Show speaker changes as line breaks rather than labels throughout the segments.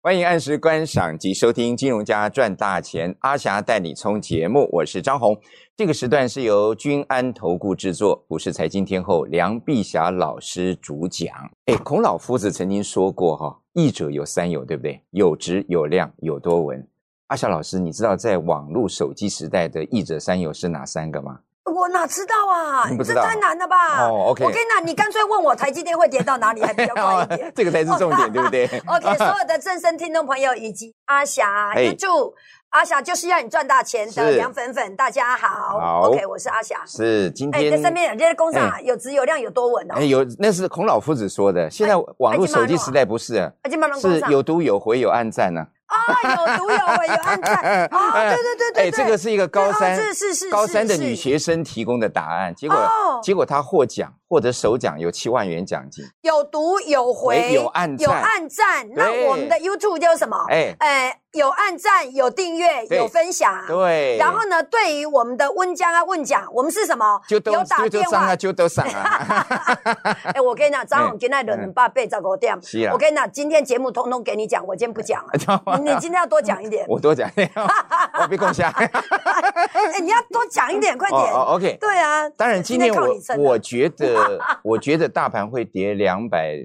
欢迎按时观赏及收听《金融家赚大钱》，阿霞带你冲节目，我是张红。这个时段是由君安投顾制作，我是财经天后梁碧霞老师主讲。哎，孔老夫子曾经说过哈、译者有三有，对不对？有质、有量、有多闻。阿霞老师，你知道在网络手机时代的译者三有是哪三个吗？
我哪知道啊？
你嗯不知
这
道
太难了吧？
哦，OK
啊我跟你讲，你干脆问我台积电会跌到哪里，还比较快一 点。
这个才是重点，对不对
OK，所有的正声听众朋友以及阿霞、
嘿
YouTube，阿霞就是要你赚大钱的
是
梁粉粉，大家好。
好
OK，我是阿霞。
是今
哎，
天
在身边人家的工厂啊有质有量有多稳哦
哎，，有那是孔老夫子说的。现在
哎
网络手机时代不是啊，
而且慢慢工
是
厂
有读有回有暗赞呢。
啊，有毒有稳有 安全。哦，对对对对对，
哎这个是一个高三
对哦是是是
高三的
是
女学生提供的答案，结果
哦
结果她获奖，获得首奖有七万元奖金。
有毒有回，
回哎有按赞
有按赞。那我们的 YouTube 叫什么？
哎
哎，有按赞，有订阅，
对
有分享。
对，
然后呢，对于我们的温江啊、问讲，我们是什么？
就都
有打
就就
电
上
话
啊，。就都上 啊，
哎，我跟你讲，张宏今天人八倍找给我点。
嗯是啊
我跟你讲，今天节目通通给你讲，我今天不讲了。
知道吗
你你今天要多讲一点，
我多讲，哦我被共下。
哎，你要多讲一点，快
哦
点
哦。，OK。
对啊，
当然，今天
靠
我
你撑了啊
我觉得， 我觉得大盘会跌两百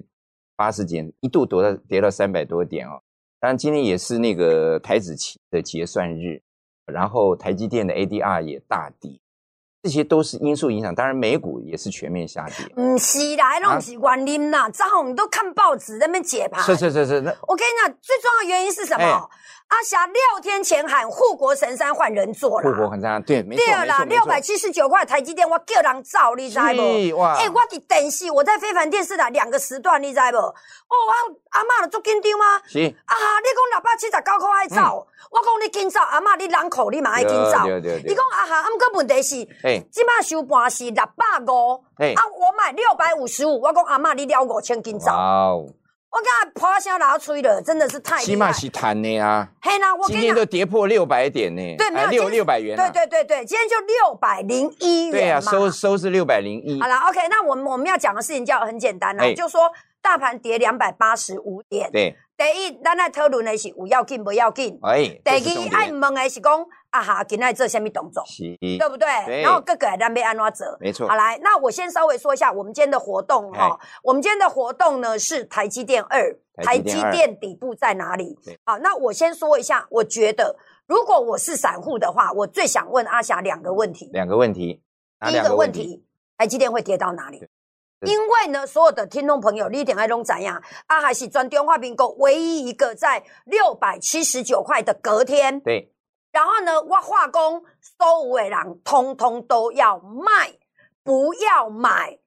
八十点，一度跌到跌到三百多点哦。当然，今天也是那个台子期的结算日，然后台积电的 ADR 也大跌，这些都是因素影响。当然，美股也是全面下跌。
嗯，是啦，那
啊
种是原因啦。张宏你都看报纸在那边解盘。
是是是是，那
我跟你讲，最重要的原因是什么？
哎
阿霞六天前喊护国神山换人做
护国
了，
很差，对，没错
对
没
啦，
错没
六百
错。
七十九块台积电，我叫人造，你知不？
是哇
哎、我的电视，我在非凡电视台两个时段，你知不？哦，我阿嬷就足紧张啊！
行，
啊，你讲六百七十九块爱走，我讲你紧走，阿嬷你人口你嘛爱紧走。
嗯对对
你
对
讲，啊哈，啊，毋过问题是，
哎
即摆收盘是六百五，
哎
啊，，我买六百五十五，我讲阿嬷你了五千紧走，
哇哦，
我讲啊破声老吹了，真的是太
起
厉害
码。是弹的啊。
嘿啦，我
今
跟你
天都
讲，
跌破六百点呢，
对没有
啊
今
六
天
六百元啊，
对对对对，今天就六百零一元
对啊，
嘛
收收是六百零一
好，了，OK，那我们我们要讲的事情叫很简单啦、
哎
就说大盘跌两百八十五点，
对，
第一，咱来讨论的是有要紧不要紧，
哎，
第
这是重
二，爱
点，
问的是讲啊哈，今仔做什么动作，
是，
对不对？
对
然后各个咱要安怎做？
没错
好，来，那我先稍微说一下我们今天的活动哈、我们今天的活动呢是台积电二，
台积电二
电底部在哪里
对？
好，那我先说一下，我觉得如果我是散户的话，我最想问阿霞两个问题。
两个问题，哪
第一
两
个问，题，台积电会跌到哪里
对？对
因为呢，所有的听众朋友，你一点爱弄啊怎样？阿海喜专电化并购唯一一个在六百七十九块的隔天，
对，
然后呢，我化工收尾郎通通都要卖，不要买，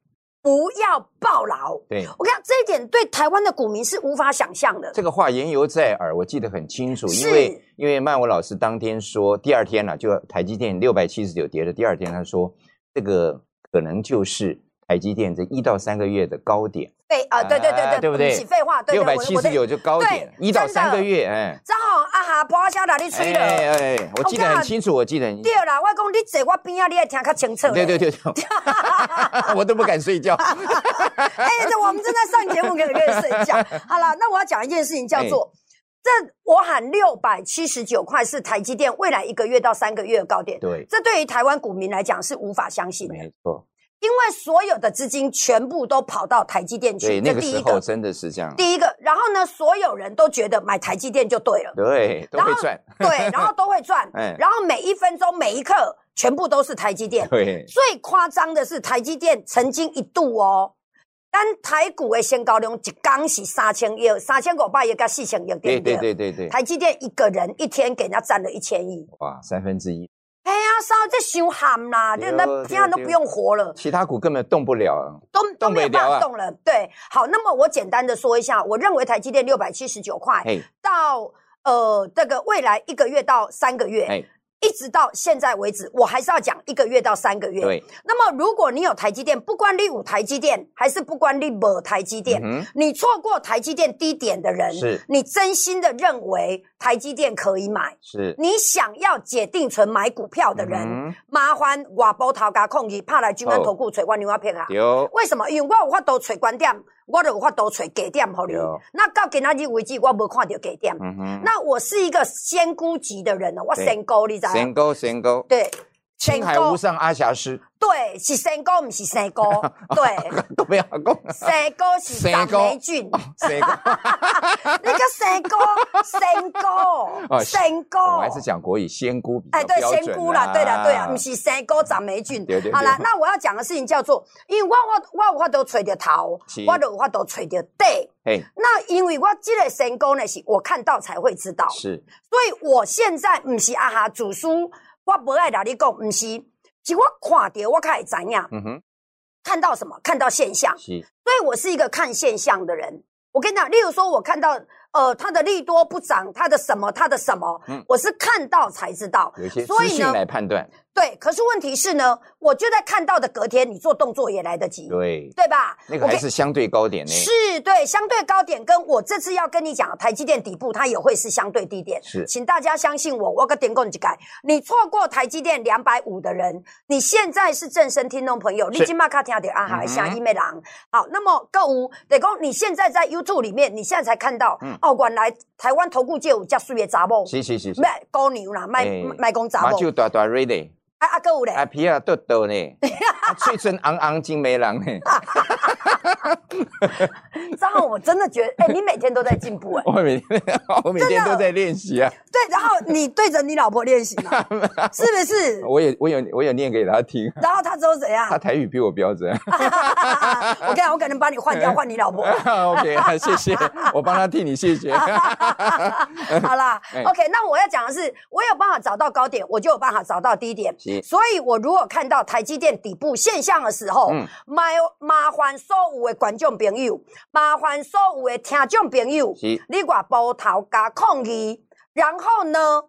不要抱牢。
对，
我跟你讲，这一点对台湾的股民是无法想象的。
这个话言犹在耳，我记得很清楚，
是
因为因为曼舞老师当天说，第二天呢、就台积电六百七十九跌的第二天，他说这个可能就是台积电这一到三个月的高点，
废啊，对对对
啊
对，
对不对
起废话，对对，
六百
我
七十。九就高点，
对
一到
真的
三个月，哎，
张宏阿啊哈，破晓哪里吹的？
哎哎，我记得
我
很
看
清楚，我记得很清楚
对。啦，我讲你坐我边啊，你也听较清楚。
对对。对对， 我都不敢睡觉。
哎、这我们正在上节目，可以跟谁讲？好了，那我要讲一件事情，叫做、
哎
这我喊六百七十九块是台积电未来一个月到三个月的高点。
对，
这对于台湾股民来讲是无法相信的，
没错，
因为所有的资金全部都跑到台积电
对，
去。
那
这
个
第
时
一
候
个，
真的是这样，
第一个，然后呢，所有人都觉得买台积电就对了，
对，都
然
会
后
赚，
对，然后都会赚
哎，
然后每一分钟每一刻全部都是台积电。
对，
最夸张的是，台积电曾经一度哦，咱台股的先高量一刚是三千亿，三千五百亿到四千亿，
对
对不对？
对对对对，
台积电一个人一天给人家占了一千亿，
哇，三分之一，
哎呀，烧这伤喊啦，
对
就
哦
那
对
天啊
哦
都
对哦
不用活了，
其他股根本动不了。
都都
动
没有
不了
办
啊
法动了。对，好，那么我简单的说一下，我认为台积电六百七十九块
嘿，
到呃这个未来一个月到三个月
哎，
一直到现在为止，我还是要讲一个月到三个月。
对，
那么，如果你有台积电，不管你有台积电，还是不管你没台积电，
嗯哼
你错过台积电低点的人，
是
你真心的认为台积电可以买，
是，
你想要解定存买股票的人，
嗯哼
麻烦我波头家控制，怕来君安投顾垂关牛蛙片啊。
有
为什么？因为我有法度找观点，我就有法度找低点互你
对。哦
那到今仔日为止，我无看到低点。
嗯哼，
那我是一个仙姑级的人呢，哦我
对
仙姑，你知道吗？
神沟神沟，
对，
青海无上阿霞师，
对，是仙姑，不是仙姑。对，
都不要讲，
仙姑是
仙
长
姑
霉菌。
神沟，
那个仙姑，仙姑，
哦
仙姑。
我还是讲国语，仙姑比较
哎，对，
标
仙
准啊
姑啦，对啦，对啦，不是仙姑长霉菌
对对对。
好啦，那我要讲的事情叫做，因为我我我有法度找着头
是，
我就有法度找着底。
嘿，
那因为我这个仙姑呢，是我看到才会知道。
是
所以我现在毋是啊哈主师，我无爱甲你讲，毋是，是我看到我才会知影，
嗯哼，
看到什么，看到现象，
是
所以我是一个看现象的人。我跟你讲，例如说，我看到呃，它的利多不涨，它的什么，它的什么，
嗯
我是看到才知道
有一些。
所
资
以
讯
呢，
来判断，
对，可是问题是呢，我就在看到的隔天，你做动作也来得及，
对，
对吧？
那个
我
还
跟
是相对高点呢，
是对相对高点，跟我这次要跟你讲的台积电底部，它也会是相对低点。
是
请大家相信我，我个点供你改。你错过台积电两百五的人，你现在是正声听众朋友，你
是
今麦卡听到啊哈
嗯哼
下一美郎。好，那么购物，得讲你现在在 YouTube 里面，你现在才看到、
嗯
哦，原来台湾投顾界有叫数月杂某，
是是是是，
卖高牛啦，卖
哎
卖公杂
马
某，
就大大瑞嘞，
啊啊，购物嘞。
啊皮啊豆豆嘞， 啊嘴唇昂昂金梅郎 嘞，
张浩，我真的觉得，哎、你每天都在进步哎、
我每天我每天
真的
都在练习 啊，
对，然后你对着你老婆练习 嘛，是不是？
我也我有我有念给他听，
然后他之后怎样？
他台语比我标准。
我跟你讲，我可能把你
哎
换掉，换你老婆。
OK，谢啊谢，我帮他替你谢 谢。
好啦、
哎
o k 那我要讲的是，我有办法找到高点，我就有办法找到低点。
是
所以，我如果看到台积电底部现象的时候，
嗯
麻麻烦所有的观众朋友，麻烦所有的听众朋友，
是
你把波头加抗议，然后呢，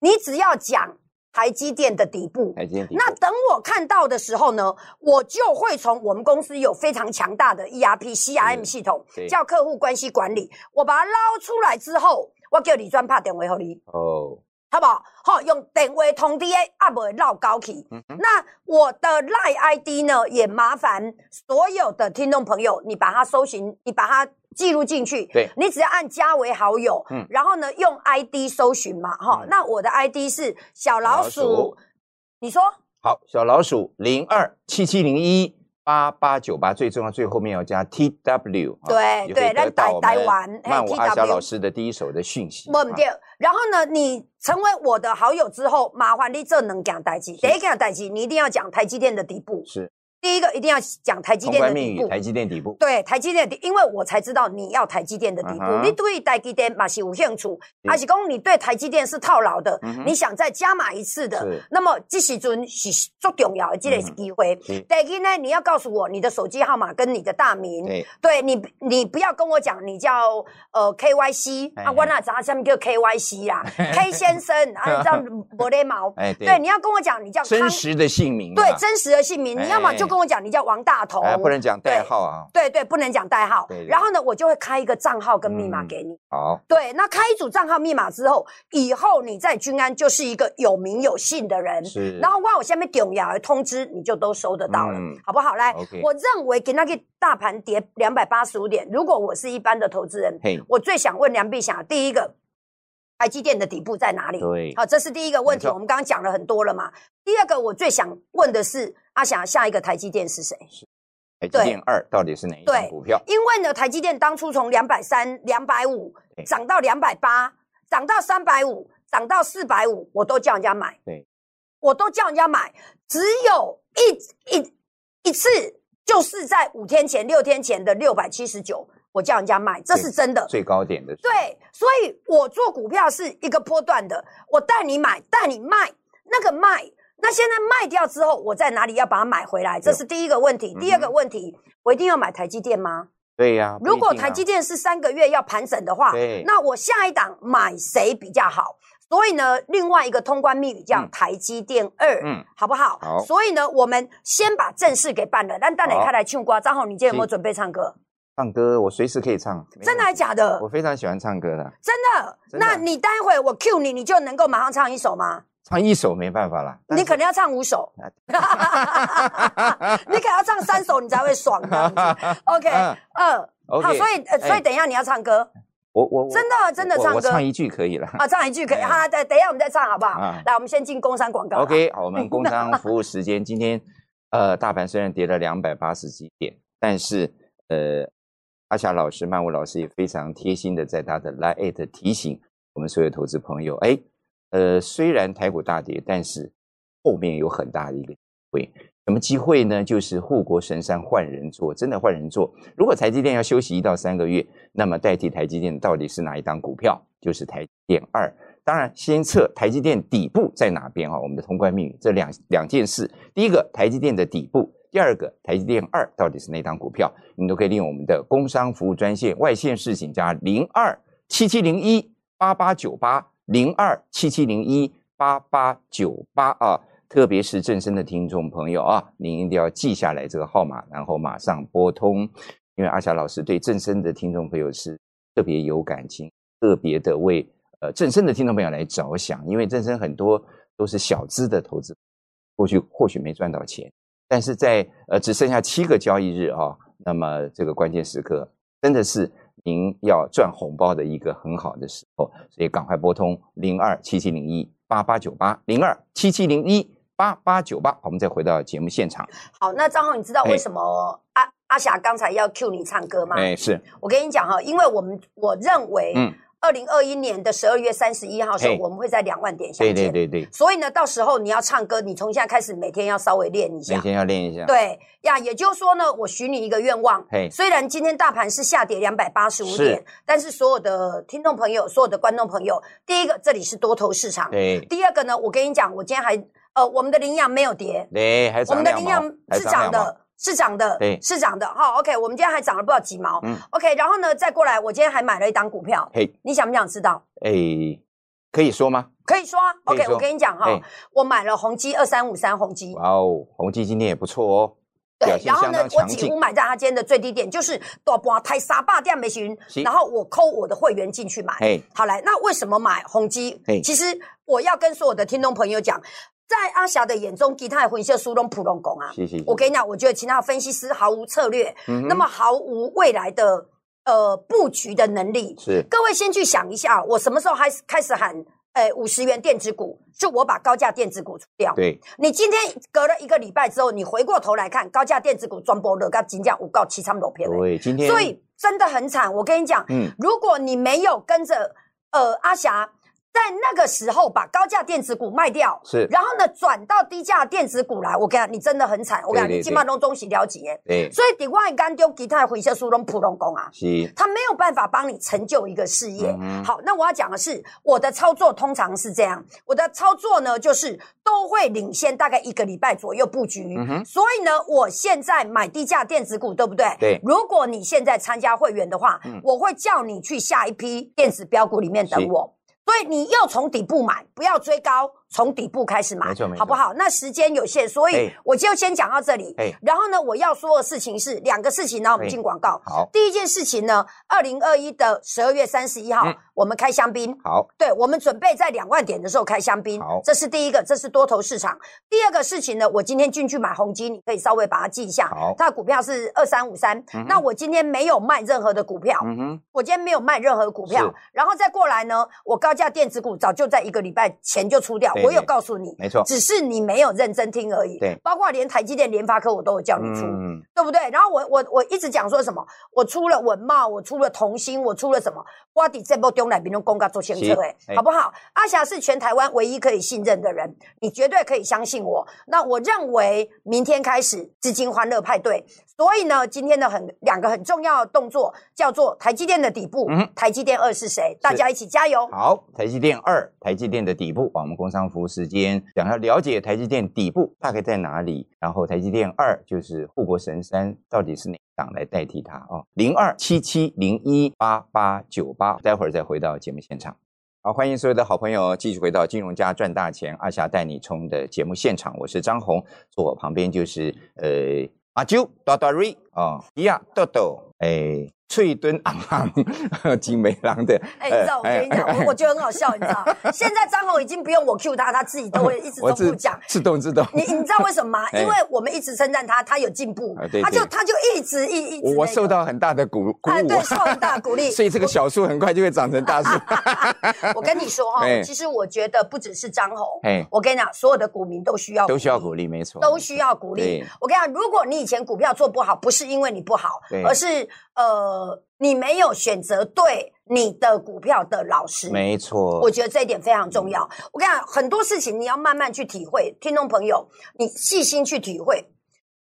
你只要讲台积电的底部，
台阶底部
那等我看到的时候呢，我就会从我们公司有非常强大的 E ERP、CRM
嗯
系统
对，
叫客户关系管理，我把它捞出来之后，我叫李专拍电话给你，
哦，
好不好？好，用电话通知的，啊，袂绕高去。
嗯哼
那我的赖 ID 呢，也麻烦所有的听众朋友，你把它搜寻，你把它记录进去。
对
你只要按加为好友，
嗯
然后呢用 ID 搜寻嘛，哈、
嗯
那我的 ID 是小老
老鼠
鼠你说
好，小老鼠零二七七零一八八九八，最重要最后面要加 TW，啊
对
也
对
会得
咱台
到我们
台湾哎
曼舞阿
TW
霞老师啊的第一手的讯息。
我唔对，然后呢，你成为我的好友之后，麻烦你这能讲代志。第一件代志，你一定要讲台积电的底部。
是
第一个一定要讲台积
通
电
关
的
密
底
语，
部。
台积电底部。
对台积电的底，因为我才知道你要台积电的底部。
嗯哼
你对台积电嘛是有兴趣，
嗯
还是讲你对台积电是套牢的，
嗯哼
你想再加码一次的
是？嗯
那么这时阵是最重要的这个机会。
是
第一呢，你要告诉我你的手机号码跟你的大名。
对，
对你，你不要跟我讲你叫呃 KYC
哎
啊，我哪知道下面叫 KYC 啦啊 ，K 先生啊，这样没礼貌。
哎
对，
对，
你要跟我讲你叫
真实的姓名啊。
对真实的姓名，
哎
你要么就跟我讲你叫王大头
哎，，不能讲代
对
号啊。
对对，不能讲代号
对对。
然后呢，我就会开一个账号跟密码
嗯
给你。
好，
对，那开一组账号密码之后，以后你在君安就是一个有名有姓的人。
是。
然后哇，我下面点牙通知你就都收得到了，
嗯
好不好？来
OK
我认为给那个大盘跌两百八十五点，如果我是一般的投资人
嘿，
我最想问梁碧霞，第一个，台积电的底部在哪里？
对
好，这是第一个问题，
没错
我们刚刚讲了很多了嘛。第二个，我最想问的是阿霞，下一个台积电是谁？
台积
对
电二到底是哪一
对
档股票？
因为呢，台积电当初从两百三、两百五
对
涨到两百八，涨到三百五，涨到四百五，我都叫人家买，
对，
我都叫人家买，只有一一一次，就是在五天前、六天前的六百七十九，我叫人家买，这是真的。
最高点的。
对，所以我做股票是一个波段的，我带你买，带你卖，那个卖，那现在卖掉之后，我在哪里要把它买回来？这是第一个问
嗯
题。第二个问题，我一定要买台积电吗？
对呀。不
如果
一定啊
台积电是三个月要盘整的话
对，
那我下一档买谁比较好？所以呢，另外一个通关密语叫
嗯
台积电二，
嗯
好不好？
好
所以呢，我们先把正事给办了。但蛋
好
磊开来唱歌，张宏，你今天有没有
是
准备唱歌？
唱歌，我随时可以唱。没
真的
问
还假的
题？我？非常喜欢唱歌的，
真的。
真的
那你待会我 cue 你，你就能够马上唱一首吗？
唱一首没办法啦。但
你
是
可能要唱五首，你可能要唱三首，你才会爽这样子。OK，
嗯
二
OK，
好，所以呃，
哎
所以等一下你要唱歌，
我我我
真的啊真的
我
唱
我
歌
唱一句可以了。
啊，唱一句可以
哎
啊，等等一下我们再唱好不好
啊？
来，我们先进工商广告啦。
OK，好，我们工商服务时间，今天呃，大盘虽然跌了两百八十几点，但是呃，阿霞老师、曼舞老师也非常贴心的在他的 Line 提醒我们所有投资朋友，哎，呃，虽然台股大跌，但是后面有很大的一个机会。什么机会呢？就是护国神山换人做，真的换人做。如果台积电要休息一到三个月，那么代替台积电到底是哪一档股票？就是台积电二。当然，先测台积电底部在哪边哈、我们的通关密语这两两件事，第一个台积电的底部，第二个台积电二到底是哪档股票，你都可以利用我们的工商服务专线外线市请加零二七七零一八八九八零二七七零一八八九八啊。特别是正身的听众朋友啊，您一定要记下来这个号码，然后马上拨通，因为阿霞老师对正身的听众朋友是特别有感情，特别的为呃正身的听众朋友来着想，因为正身很多都是小资的投资，过去或许没赚到钱，但是在呃只剩下七个交易日啊，那么这个关键时刻真的是您要赚红包的一个很好的时候，所以赶快拨通零二七七零一八八九八零二七七零一八八九八，我们再回到节目现场。
好，那张浩，你知道为
哎
什么阿阿霞刚才要 cue 你唱歌吗？
哎，是，
我跟你讲哈，因为我们我认为，
嗯，
二零二一年的十二月三十一号的时候，
嘿
我们会在两万点相
对
见。
对对对，
所以呢，到时候你要唱歌，你从现在开始每天要稍微练一
每
下。
天要练一下。
对呀，也就是说呢，我许你一个愿望。
嘿
虽然今天大盘是下跌两百八十五
是
点，但是所有的听众朋友、所有的观众朋友，第一个，这里是多头市场；
对
第二个呢，我跟你讲，我今天还呃，我们的羚羊没有跌，
对，哎还
我
涨
们的
两
羚
毛
羊，
还
是涨
两毛。
的，是涨的，
对
是涨的。好、o k 我们今天还涨了不知道几毛。
嗯
OK，然后呢，再过来，我今天还买了一档股票，
嘿，
你想不想知道？
哎，可以说吗？
可以说啊
可以
，OK，
说
我跟你讲哈、
哎
我买了宏基二三五三宏基，
哇哦，宏基今天也不错哦，表
对，
现
然后
相
呢
当，
我
强
几
劲
乎。买在它今天的最低点，就是大波台沙霸店没行
是，
然后我扣我的会员进去买。
嘿，
好来，那为什么买宏基
嘿？
其实我要跟所有的听众朋友讲，在阿霞的眼中，吉他的魂秀苏东普龙拱啊，
谢谢。
我跟你讲，我觉得其他的分析师毫无策略，
嗯哼
那么毫无未来的呃布局的能力。
是
各位先去想一下，我什么时候开始开始喊？诶五十元电子股是我把高价电子股除掉。
对，
你今天隔了一个礼拜之后，你回过头来看高价电子股专波热，跟金价五告七差六片，
对，今天
所以真的很惨。我跟你讲，
嗯，
如果你没有跟着呃阿霞在那个时候把高价电子股卖掉，
是
然后呢转到低价电子股来，我跟你讲，你真的很惨。我跟你
对对
讲，你金马东中洗了几耶，
对，
所以顶外干丢吉他回销书拢普通工啊。
是
他没有办法帮你成就一个事业。
嗯哼
好，那我要讲的是，我的操作通常是这样，我的操作呢就是都会领先大概一个礼拜左右布局。
嗯哼
所以呢，我现在买低价电子股，对不对？
对
如果你现在参加会员的话，
嗯
我会叫你去下一批电子标股里面等
是
我。所以你又从底部买，不要追高，从底部开始买，
没错没错
好不好？那时间有限，所以
哎
我就先讲到这里。
哎
然后呢，我要说的事情是两个事情，然后我们
哎
进广告。
好，
第一件事情呢，二零二一的十二月三十一号，
嗯
我们开香槟。
好，
对，我们准备在两万点的时候开香槟
好，
这是第一个，这是多头市场。第二个事情呢，我今天进去买宏基，你可以稍微把它记一下。
好
它的股票是二三五三
嗯哼，
那我今天没有卖任何的股票，
嗯哼，
我今天没有卖任何股
是
票。然后再过来呢，我高价电子股早就在一个礼拜前就出掉
对，
我有
对
告诉你，
没错，
只是你没有认真听而已。
对
包括连台积电、联发科我都有叫你出。
嗯，
对不对？然后我我我一直讲说什么，我出了文茂，我出了同心，我出了什么？我底这波丢来评论公告做先车，哎
是哎，
好不好？阿霞是全台湾唯一可以信任的人，你绝对可以相信我。那我认为明天开始资金欢乐派对，所以呢，今天的很两个很重要的动作叫做台积电的底部，
嗯哼
台积电二是谁？大家一起加油！
好，台积电二，台积电的底部，啊我们工商服务时间，想要了解台积电底部大概在哪里，然后台积电二就是护国神山到底是哪一档来代替它哦，零二七七零一八八九八，待会儿再回到节目现场。好，欢迎所有的好朋友继续回到《金融家赚大钱》，阿霞带你冲的节目现场，我是张红，坐哦我旁边就是呃阿啾、大大瑞啊、迪亚、豆豆，哎，翠敦昂昂 金梅郎的。
哎，你知道我跟你讲，我我觉得很好笑，你知道， 现在张宏已经不 用我 Q 他，他自己都会一直重复讲。
自动自动。
你你知道为什么吗？
哎
因为我们一直称赞他，他有进步，他就他就一直一一直。
啊
啊
我受到很大的鼓鼓舞，啊
对，受很大鼓 励。
所以这个小树很快就会长成 大树。
我跟你 说哈，
哎
其实我觉得不只是张宏，我跟你讲，所有的股民都需要
都需要鼓励，没错，
都需要鼓励。我跟你讲，如果你以前股票做不好，不是因为你不好，而是呃。你没有选择对你的股票的老师，
没错，
我觉得这一点非常重要。我跟你讲，很多事情你要慢慢去体会，听众朋友，你细心去体会，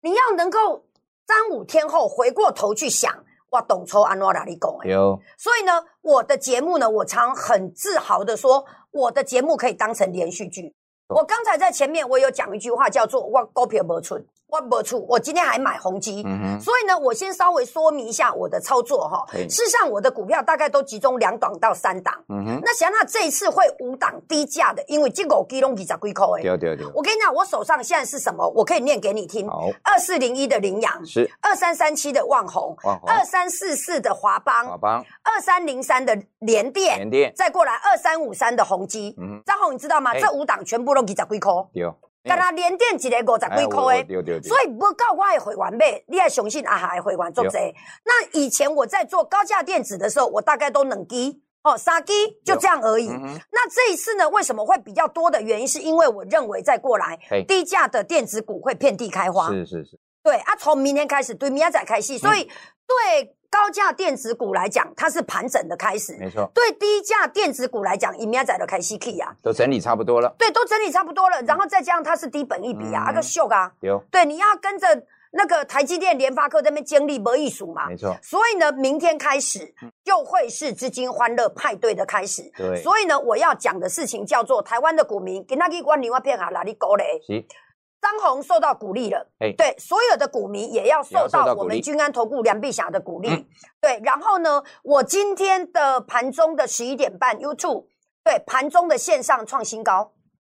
你要能够三五天后回过头去想，哇，董抽安诺哪里拱哎，
有。
所以呢，我的节目呢，我常很自豪的说，我的节目可以当成连续剧。我刚才在前面我有讲一句话，叫做“我股票没出，我没出”。我今天还买红基，嗯、所以呢，我先稍微说明一下我的操作哈。事实上，我的股票大概都集中两档到三档。嗯、那想那这一次会五档低价的，因为这个基隆比较贵扣哎。
对对对。
我跟你讲，我手上现在是什么？我可以念给你听。
好。
二四零一的羚羊，
是
二三三七的万红，二三四四的华邦，
华邦
二三零三的联电，
联电
再过来二三五三的宏基。嗯。张宏，你知道吗？这五档全部。拢二十几箍，
对，哦哎
干那连电一个五十几箍诶，所以不到我的会员买，你也相信阿海的会员做者。那以前我在做高价电子的时候，我大概都两 G 哦，三 G 就这样而已。嗯、那这一次呢，为什么会比较多的原因，是因为我认为再过来低价的电子股会遍地开花。
是是是，
对啊，从明天开始，对明天仔开戏，所以、嗯、对。高价电子股来讲，它是盘整的开始，
没错。
对低价电子股来讲，以明仔的开始 K 啊，
都整理差不多了。
对，都整理差不多了，
嗯
然后再加上它是低本一比啊，那个秀啊，
有。
对，你要跟着那个台积电、联发科这边经历没艺术嘛，
没错。
所以呢，明天开始又会是资金欢乐派嗯对的开始。
对。
所以呢，我要讲的事情叫做台湾的股民，给那个关你外片啊，哪里狗嘞？张红受到鼓励了，欸、对所有的股民也要受到我们君安投顾梁碧霞的鼓励。嗯、对，然后呢，我今天的盘中的十一点半 YouTube 对盘中的线上创新高，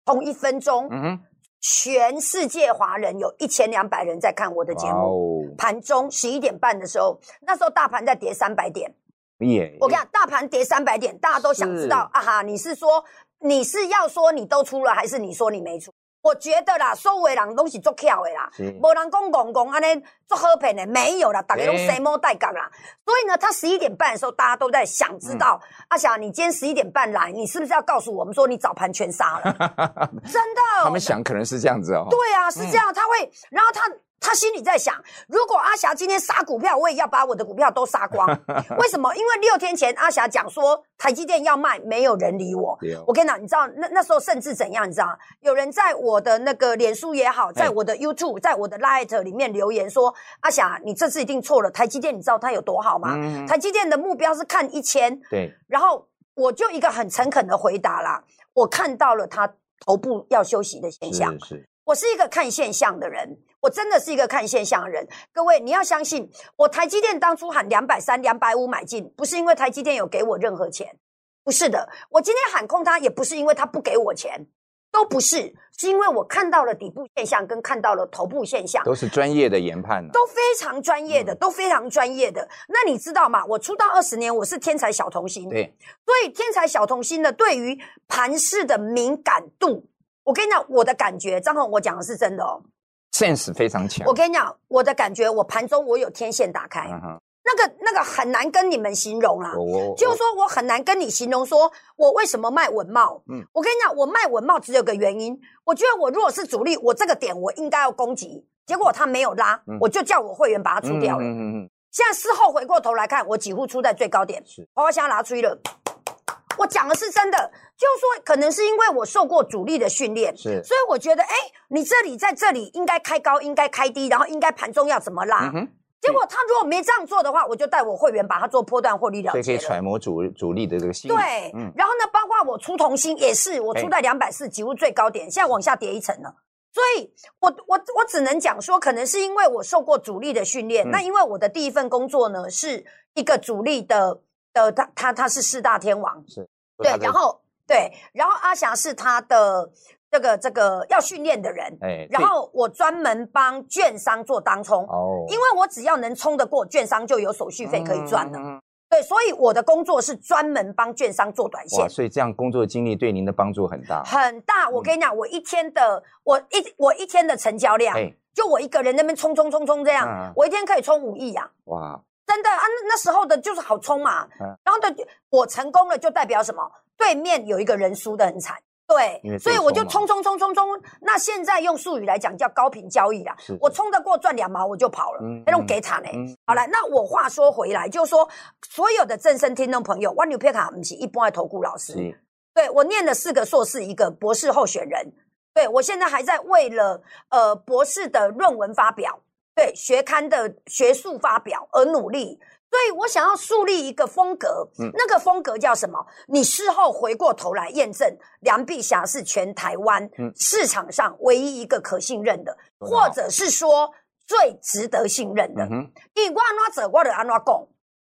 同一分钟，嗯、全世界华人有一千两百人在看我的节目。哦、盘中十一点半的时候，那时候大盘在跌三百点，
哦耶！
我跟你讲，大盘跌三百点，大家都想知道啊哈，你是说你是要说你都出了，还是你说你没出？我觉得啦，所有人拢是作巧的啦，
嗯
无人讲戆戆安尼作好骗的，没有啦，大家拢生毛带杠啦。所以呢，他十一点半的时候，大家都在想知道，嗯、阿霞，你今天十一点半来，你是不是要告诉我们说你早盘全杀了？真的，哦
他们想可能是这样子哦。
对啊，是这样，嗯、他会，然后他。他心里在想，如果阿霞今天杀股票，我也要把我的股票都杀 光。为什么？因为六天前阿霞讲说台积电要卖，没有人理我。
哦嗯
我跟你讲，你知道那那时候甚至怎样？你知道，有人在我的那个脸书也好，在我的 YouTube，在我的 Light 里面留言说：“阿霞，你这次一定错了。台积电，你知道它有多好吗？嗯、台积电的目标是看一千。”
对。
然后我就一个很诚恳的回答啦，我看到了它头部要休息的现象。
是,是。
我是一个看现象的人，我真的是一个看现象的人。各位，你要相信我，台积电当初喊两百三、两百五买进，不是因为台积电有给我任何钱，不是的。我今天喊空它，也不是因为它不给我钱，都不是，是因为我看到了底部现象，跟看到了头部现象，
都是专业的研判、啊，
都非常专业的，嗯、都非常专业的。那你知道吗？我出道二十年，我是天才小童星，
对，
所以天才小童星呢，对于盘势的敏感度。我跟你讲，我的感觉，张红，我讲的是真的哦
，sense 非常强。
我跟你讲，我的感觉，我盘中我有天线打开，嗯、那个那个很难跟你们形容啦、啊。哦、就是说我很难跟你形容，说我为什么卖文茂。嗯，我跟你讲，我卖文茂只有个原因，我觉得我如果是主力，我这个点我应该要攻击，结果他没有拉，嗯、我就叫我会员把它出掉了。嗯、现在事后回过头来看，我几乎出在最高点，花香拿出了。我讲的是真的，就说可能是因为我受过主力的训练，
是，
所以我觉得，哎，你这里在这里应该开高，应该开低，然后应该盘中要怎么拉？嗯、结果他如果没这样做的话，我就带我会员把它做波段获利了结了。
所以可以揣摩主主力的这个心
理。对，嗯、然后呢，包括我出同心也是，我出在两百四几乎最高点，现在往下跌一层了。所以我我我只能讲说，可能是因为我受过主力的训练。嗯、那因为我的第一份工作呢，是一个主力的。的他他他是四大天王，
是
对，然后对，然后阿霞是他的这个这个要训练的人，
哎，
然后我专门帮券商做当冲
对，哦，
因为我只要能冲得过券商，就有手续费可以赚了。
嗯
对，所以我的工作是专门帮券商做短线
哇，。所以这样工作经历对您的帮助很大。
很大，
嗯
我跟你讲，我一天的我一我一天的成交量，
哎，
就我一个人那边冲冲冲冲这样，
嗯
我一天可以冲五亿呀、
哇，
真的啊，那那时候的就是好冲嘛，
嗯
然后的我成功了就代表什么？对面有一个人输的很惨，
因为
对，所以
对
我就
冲
冲冲冲冲冲。那现在用术语来讲叫高频交易啊啦
是，
我冲得过赚两毛我就跑了
嗯，
那种给惨呢
嗯。
好了，那我话说回来，就是说所有的正声听众朋友，万牛皮卡不是一般的投顾老师，
嗯是
对我念了四个硕士，一个博士候选人。对我现在还在为了呃博士的论文发表，对学刊的学术发表而努力。所以我想要树立一个风格，
嗯
那个风格叫什么？你事后回过头来验证，梁碧霞是全台湾
嗯
市场上唯一一个可信任的，
说得好
或者是说最值得信任的。
嗯哼，
你我安怎做，我就安怎讲。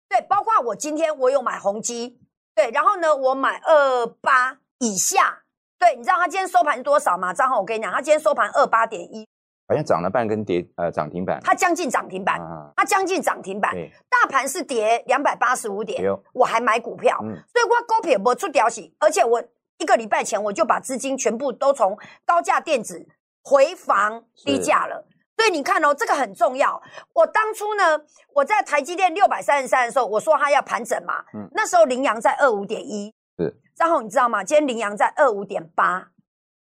对，包括我今天我有买宏基，对，然后呢，我买二八以下。对，你知道它今天收盘是多少吗？张宏，我跟你讲，它今天收盘二八点一，
好像涨了半根跌，呃，涨停板。
它将近涨停板，
啊，
它将近涨停板。
对，
大盘是跌两百八十五
哎
点，
呦，
我还买股票，
嗯，
所以我股票没出掉息，而且我一个礼拜前我就把资金全部都从高价电子回防低价了。所以你看哦，这个很重要。我当初呢，我在台积电六百三十三的时候，我说它要盘整嘛，
嗯
那时候羚羊在二五点一
是，
然后你知道吗？今天羚羊在二五点八，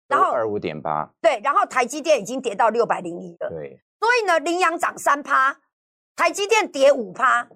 然后
二五点八，
对，然后台积电已经跌到六百零一了，
对，
所以呢，羚羊涨三趴，台积电跌五趴，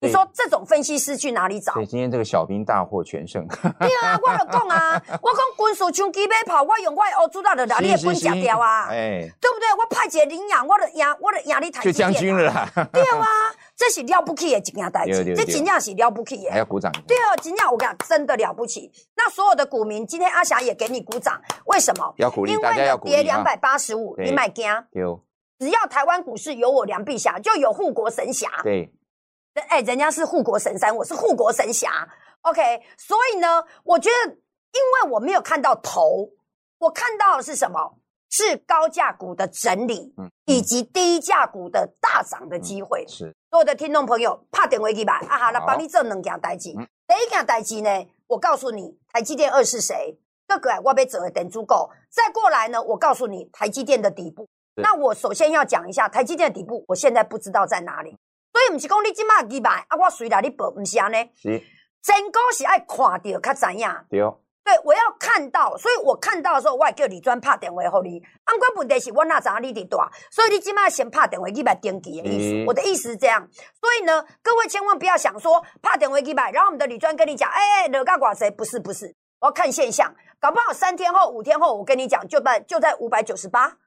你
对
说这种分析师去哪里找
所以？今天这个小兵大获全胜，
对啊，我就讲 啊，我讲军事枪机买跑，我用我的欧主道的哪里的本吃掉啊，
哎，
对不对？我派一个领养，我的赢，我的赢你台积
就
电啊
将军了。啦，
对啊，这是了不起的一件代
对
志，
对
这
对哎
真正是了不起
还
的。
要鼓掌。
对啊，真正我跟你讲，真的了不起。那所有的股民，今天阿霞也给你鼓掌，为什么？
要鼓励
因
大家
为
要
有
鼓励啊
跌两百八十五，
对
你买惊。
丢，
只要台湾股市有我梁碧霞，就有护国神侠。
对，
人哎，人家是护国神山，我是护国神侠。OK，所以呢，我觉得，因为我没有看到头，我看到的是什么？是高价股的整理，
嗯，
以及低价股的大涨的机会。
是
所有的听众朋友，怕点回去吧，啊哈，来帮你做两件代志。
嗯
第一件代志呢，我告诉你，台积电二是谁？各个我被走的等足够，再过来呢，我告诉你台积电的底部。
是
那我首先要讲一下台积电的底部，我现在不知道在哪里，所以不是讲你今卖几百啊，我随来你报，不是安尼。
是
真股是爱看到较知影，
丢，
对我要看到，所以我看到的时候，我会叫李专拍电话给你。啊，不过问题是我哪知影你伫大，所以你即摆先拍电话去买登记的意思。
嗯
我的意思是这样，所以呢，各位千万不要想说拍电话去买，然后我们的李专跟你讲，哎、哎，惹干寡谁？不是不是，我要看现象，搞不好三天后、五天后，我跟你讲，就在就在五百九十八。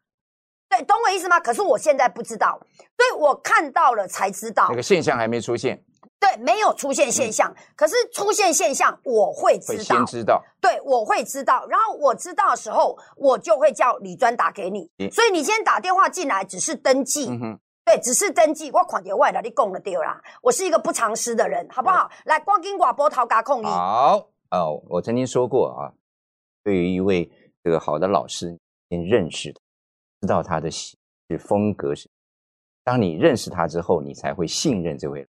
对，懂我意思吗？可是我现在不知道，所以我看到了才知道。
那个现象还没出现，
对，没有出现现象，可是出现现象我会知
会
道。
先知道，
对，我会知道。然后我知道的时候，我就会叫李专打给你。
嗯
所以你今天打电话进来，只是登记，
嗯哼，
对，只是登记。我款给外来你供了丢啦。我是一个不藏私的人，好不好？来，光金寡波桃嘎控你。
嗯好，哦，我曾经说过啊，对于一位这个好的老师，先认识他，知道他的喜是风格是，当你认识他之后，你才会信任这位老师。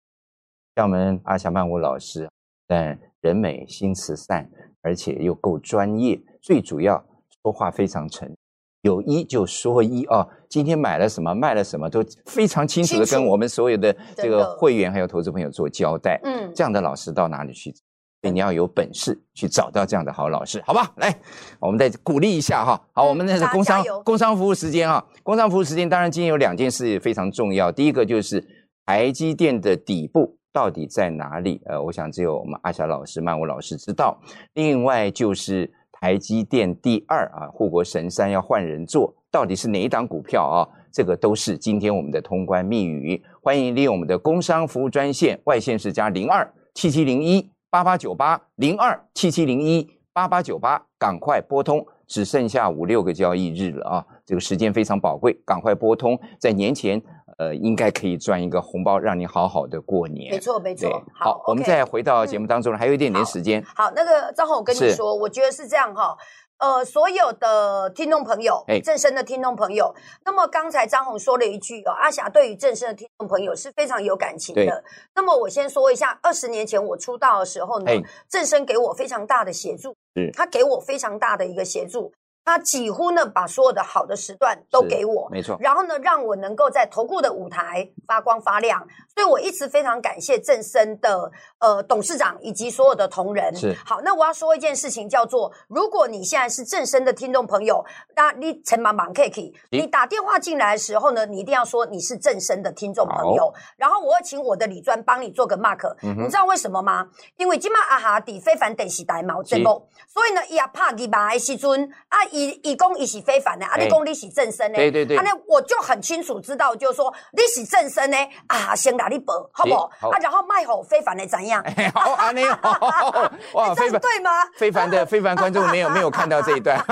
像我们阿霞曼舞老师，但人美心慈善，而且又够专业，最主要说话非常诚实。有一就说一哦，今天买了什么，卖了什么，都非常清楚的
清
跟
楚
我们所有的这
真
个
的
会员还有投资朋友做交代。
嗯，
这样的老师到哪里去？所以你要有本事去找到这样的好老师，好吧？来，我们再鼓励一下哈。好，
嗯
我们那是
大家
工商
加油
工商服务时间啊，工商服务时间。当然，今天有两件事非常重要，第一个就是台积电的底部到底在哪里？呃，我想只有我们阿霞老师、曼舞老师知道。另外就是台积电第二啊，护国神山要换人做，到底是哪一档股票啊？这个都是今天我们的通关密语。欢迎利用我们的工商服务专线，外线是加零二七七零一八八九八零二七七零一八八九八，赶快拨通。只剩下五六个交易日了啊！这个时间非常宝贵，赶快拨通。在年前，呃，应该可以赚一个红包，让你好好的过年。
没错，没
对
错。，
好，我们
OK 嗯
再回到节目当中了，还有一点点时间。
好，那个张宏，我跟你
是
说，我觉得是这样哈、呃，所有的听众朋友
哎，
正声的听众朋友，那么刚才张宏说了一句哦，阿霞对于正声的听众朋友是非常有感情
对
的。那么我先说一下，二十年前我出道的时候呢
哎，
正声给我非常大的协助
是，
他给我非常大的一个协助，他几乎呢把所有的好的时段都
是
给我，
没错，
然后呢，让我能够在投顾的舞台发光发亮，所以我一直非常感谢正生的呃董事长以及所有的同仁。
是
好，那我要说一件事情，叫做如果你现在是正生的听众朋友，那你陈茫茫 K K，你打电话进来的时候呢，你一定要说你是正生的听众朋友，然后我要请我的李专帮你做个 mark，、
嗯哼
你知道为什么吗？因为今嘛阿哈底非凡得时代嘛，有节目，所以呢，伊也拍伊吧的时阵，啊，伊伊讲伊是非凡的，啊，
哎
你讲你是正生的，
对对对
啊，那我就很清楚知道，就是说你是正生的啊，先拿你保，好不好？
好
啊，然后卖好非凡的怎样？
哎，好，安利 哦， 哇，
这
非
样
凡
对吗？
非凡的非凡观众没有没有看到这一段，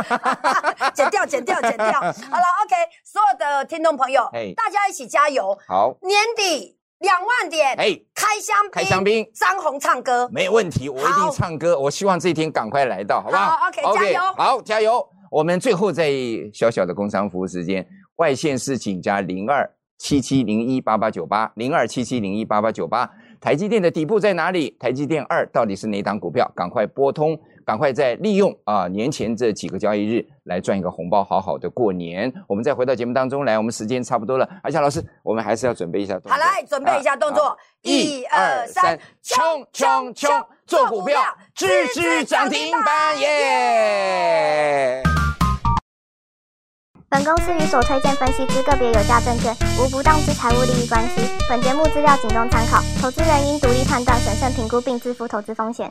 剪掉，剪掉，剪掉。好了，OK，所有的听众朋友
哎，
大家一起加油！
好，
年底两万点，
哎，
开香槟
开香槟
张红唱歌，
没有问题，我一定
好
唱歌。我希望这一天赶快来到，好不好
好，OK，加油
好，加油！我们最后在小小的工商服务时间，外线是请加零二七七零一八八九八零二七七零一八八九八。台积电的底部在哪里？台积电二到底是哪档股票？赶快拨通，赶快再利用啊、年前这几个交易日来赚一个红包，好好的过年。我们再回到节目当中来，我们时间差不多了，而且老师，我们还是要准备一下动作。
好来，准备一下动
啊
作，一二三，
冲冲冲！做股票，支支涨停板耶！
本公司与所推荐分析之个别有价证券无不当之财务利益关系。本节目资料仅供参考，投资人应独立判断、审慎评估并自负投资风险。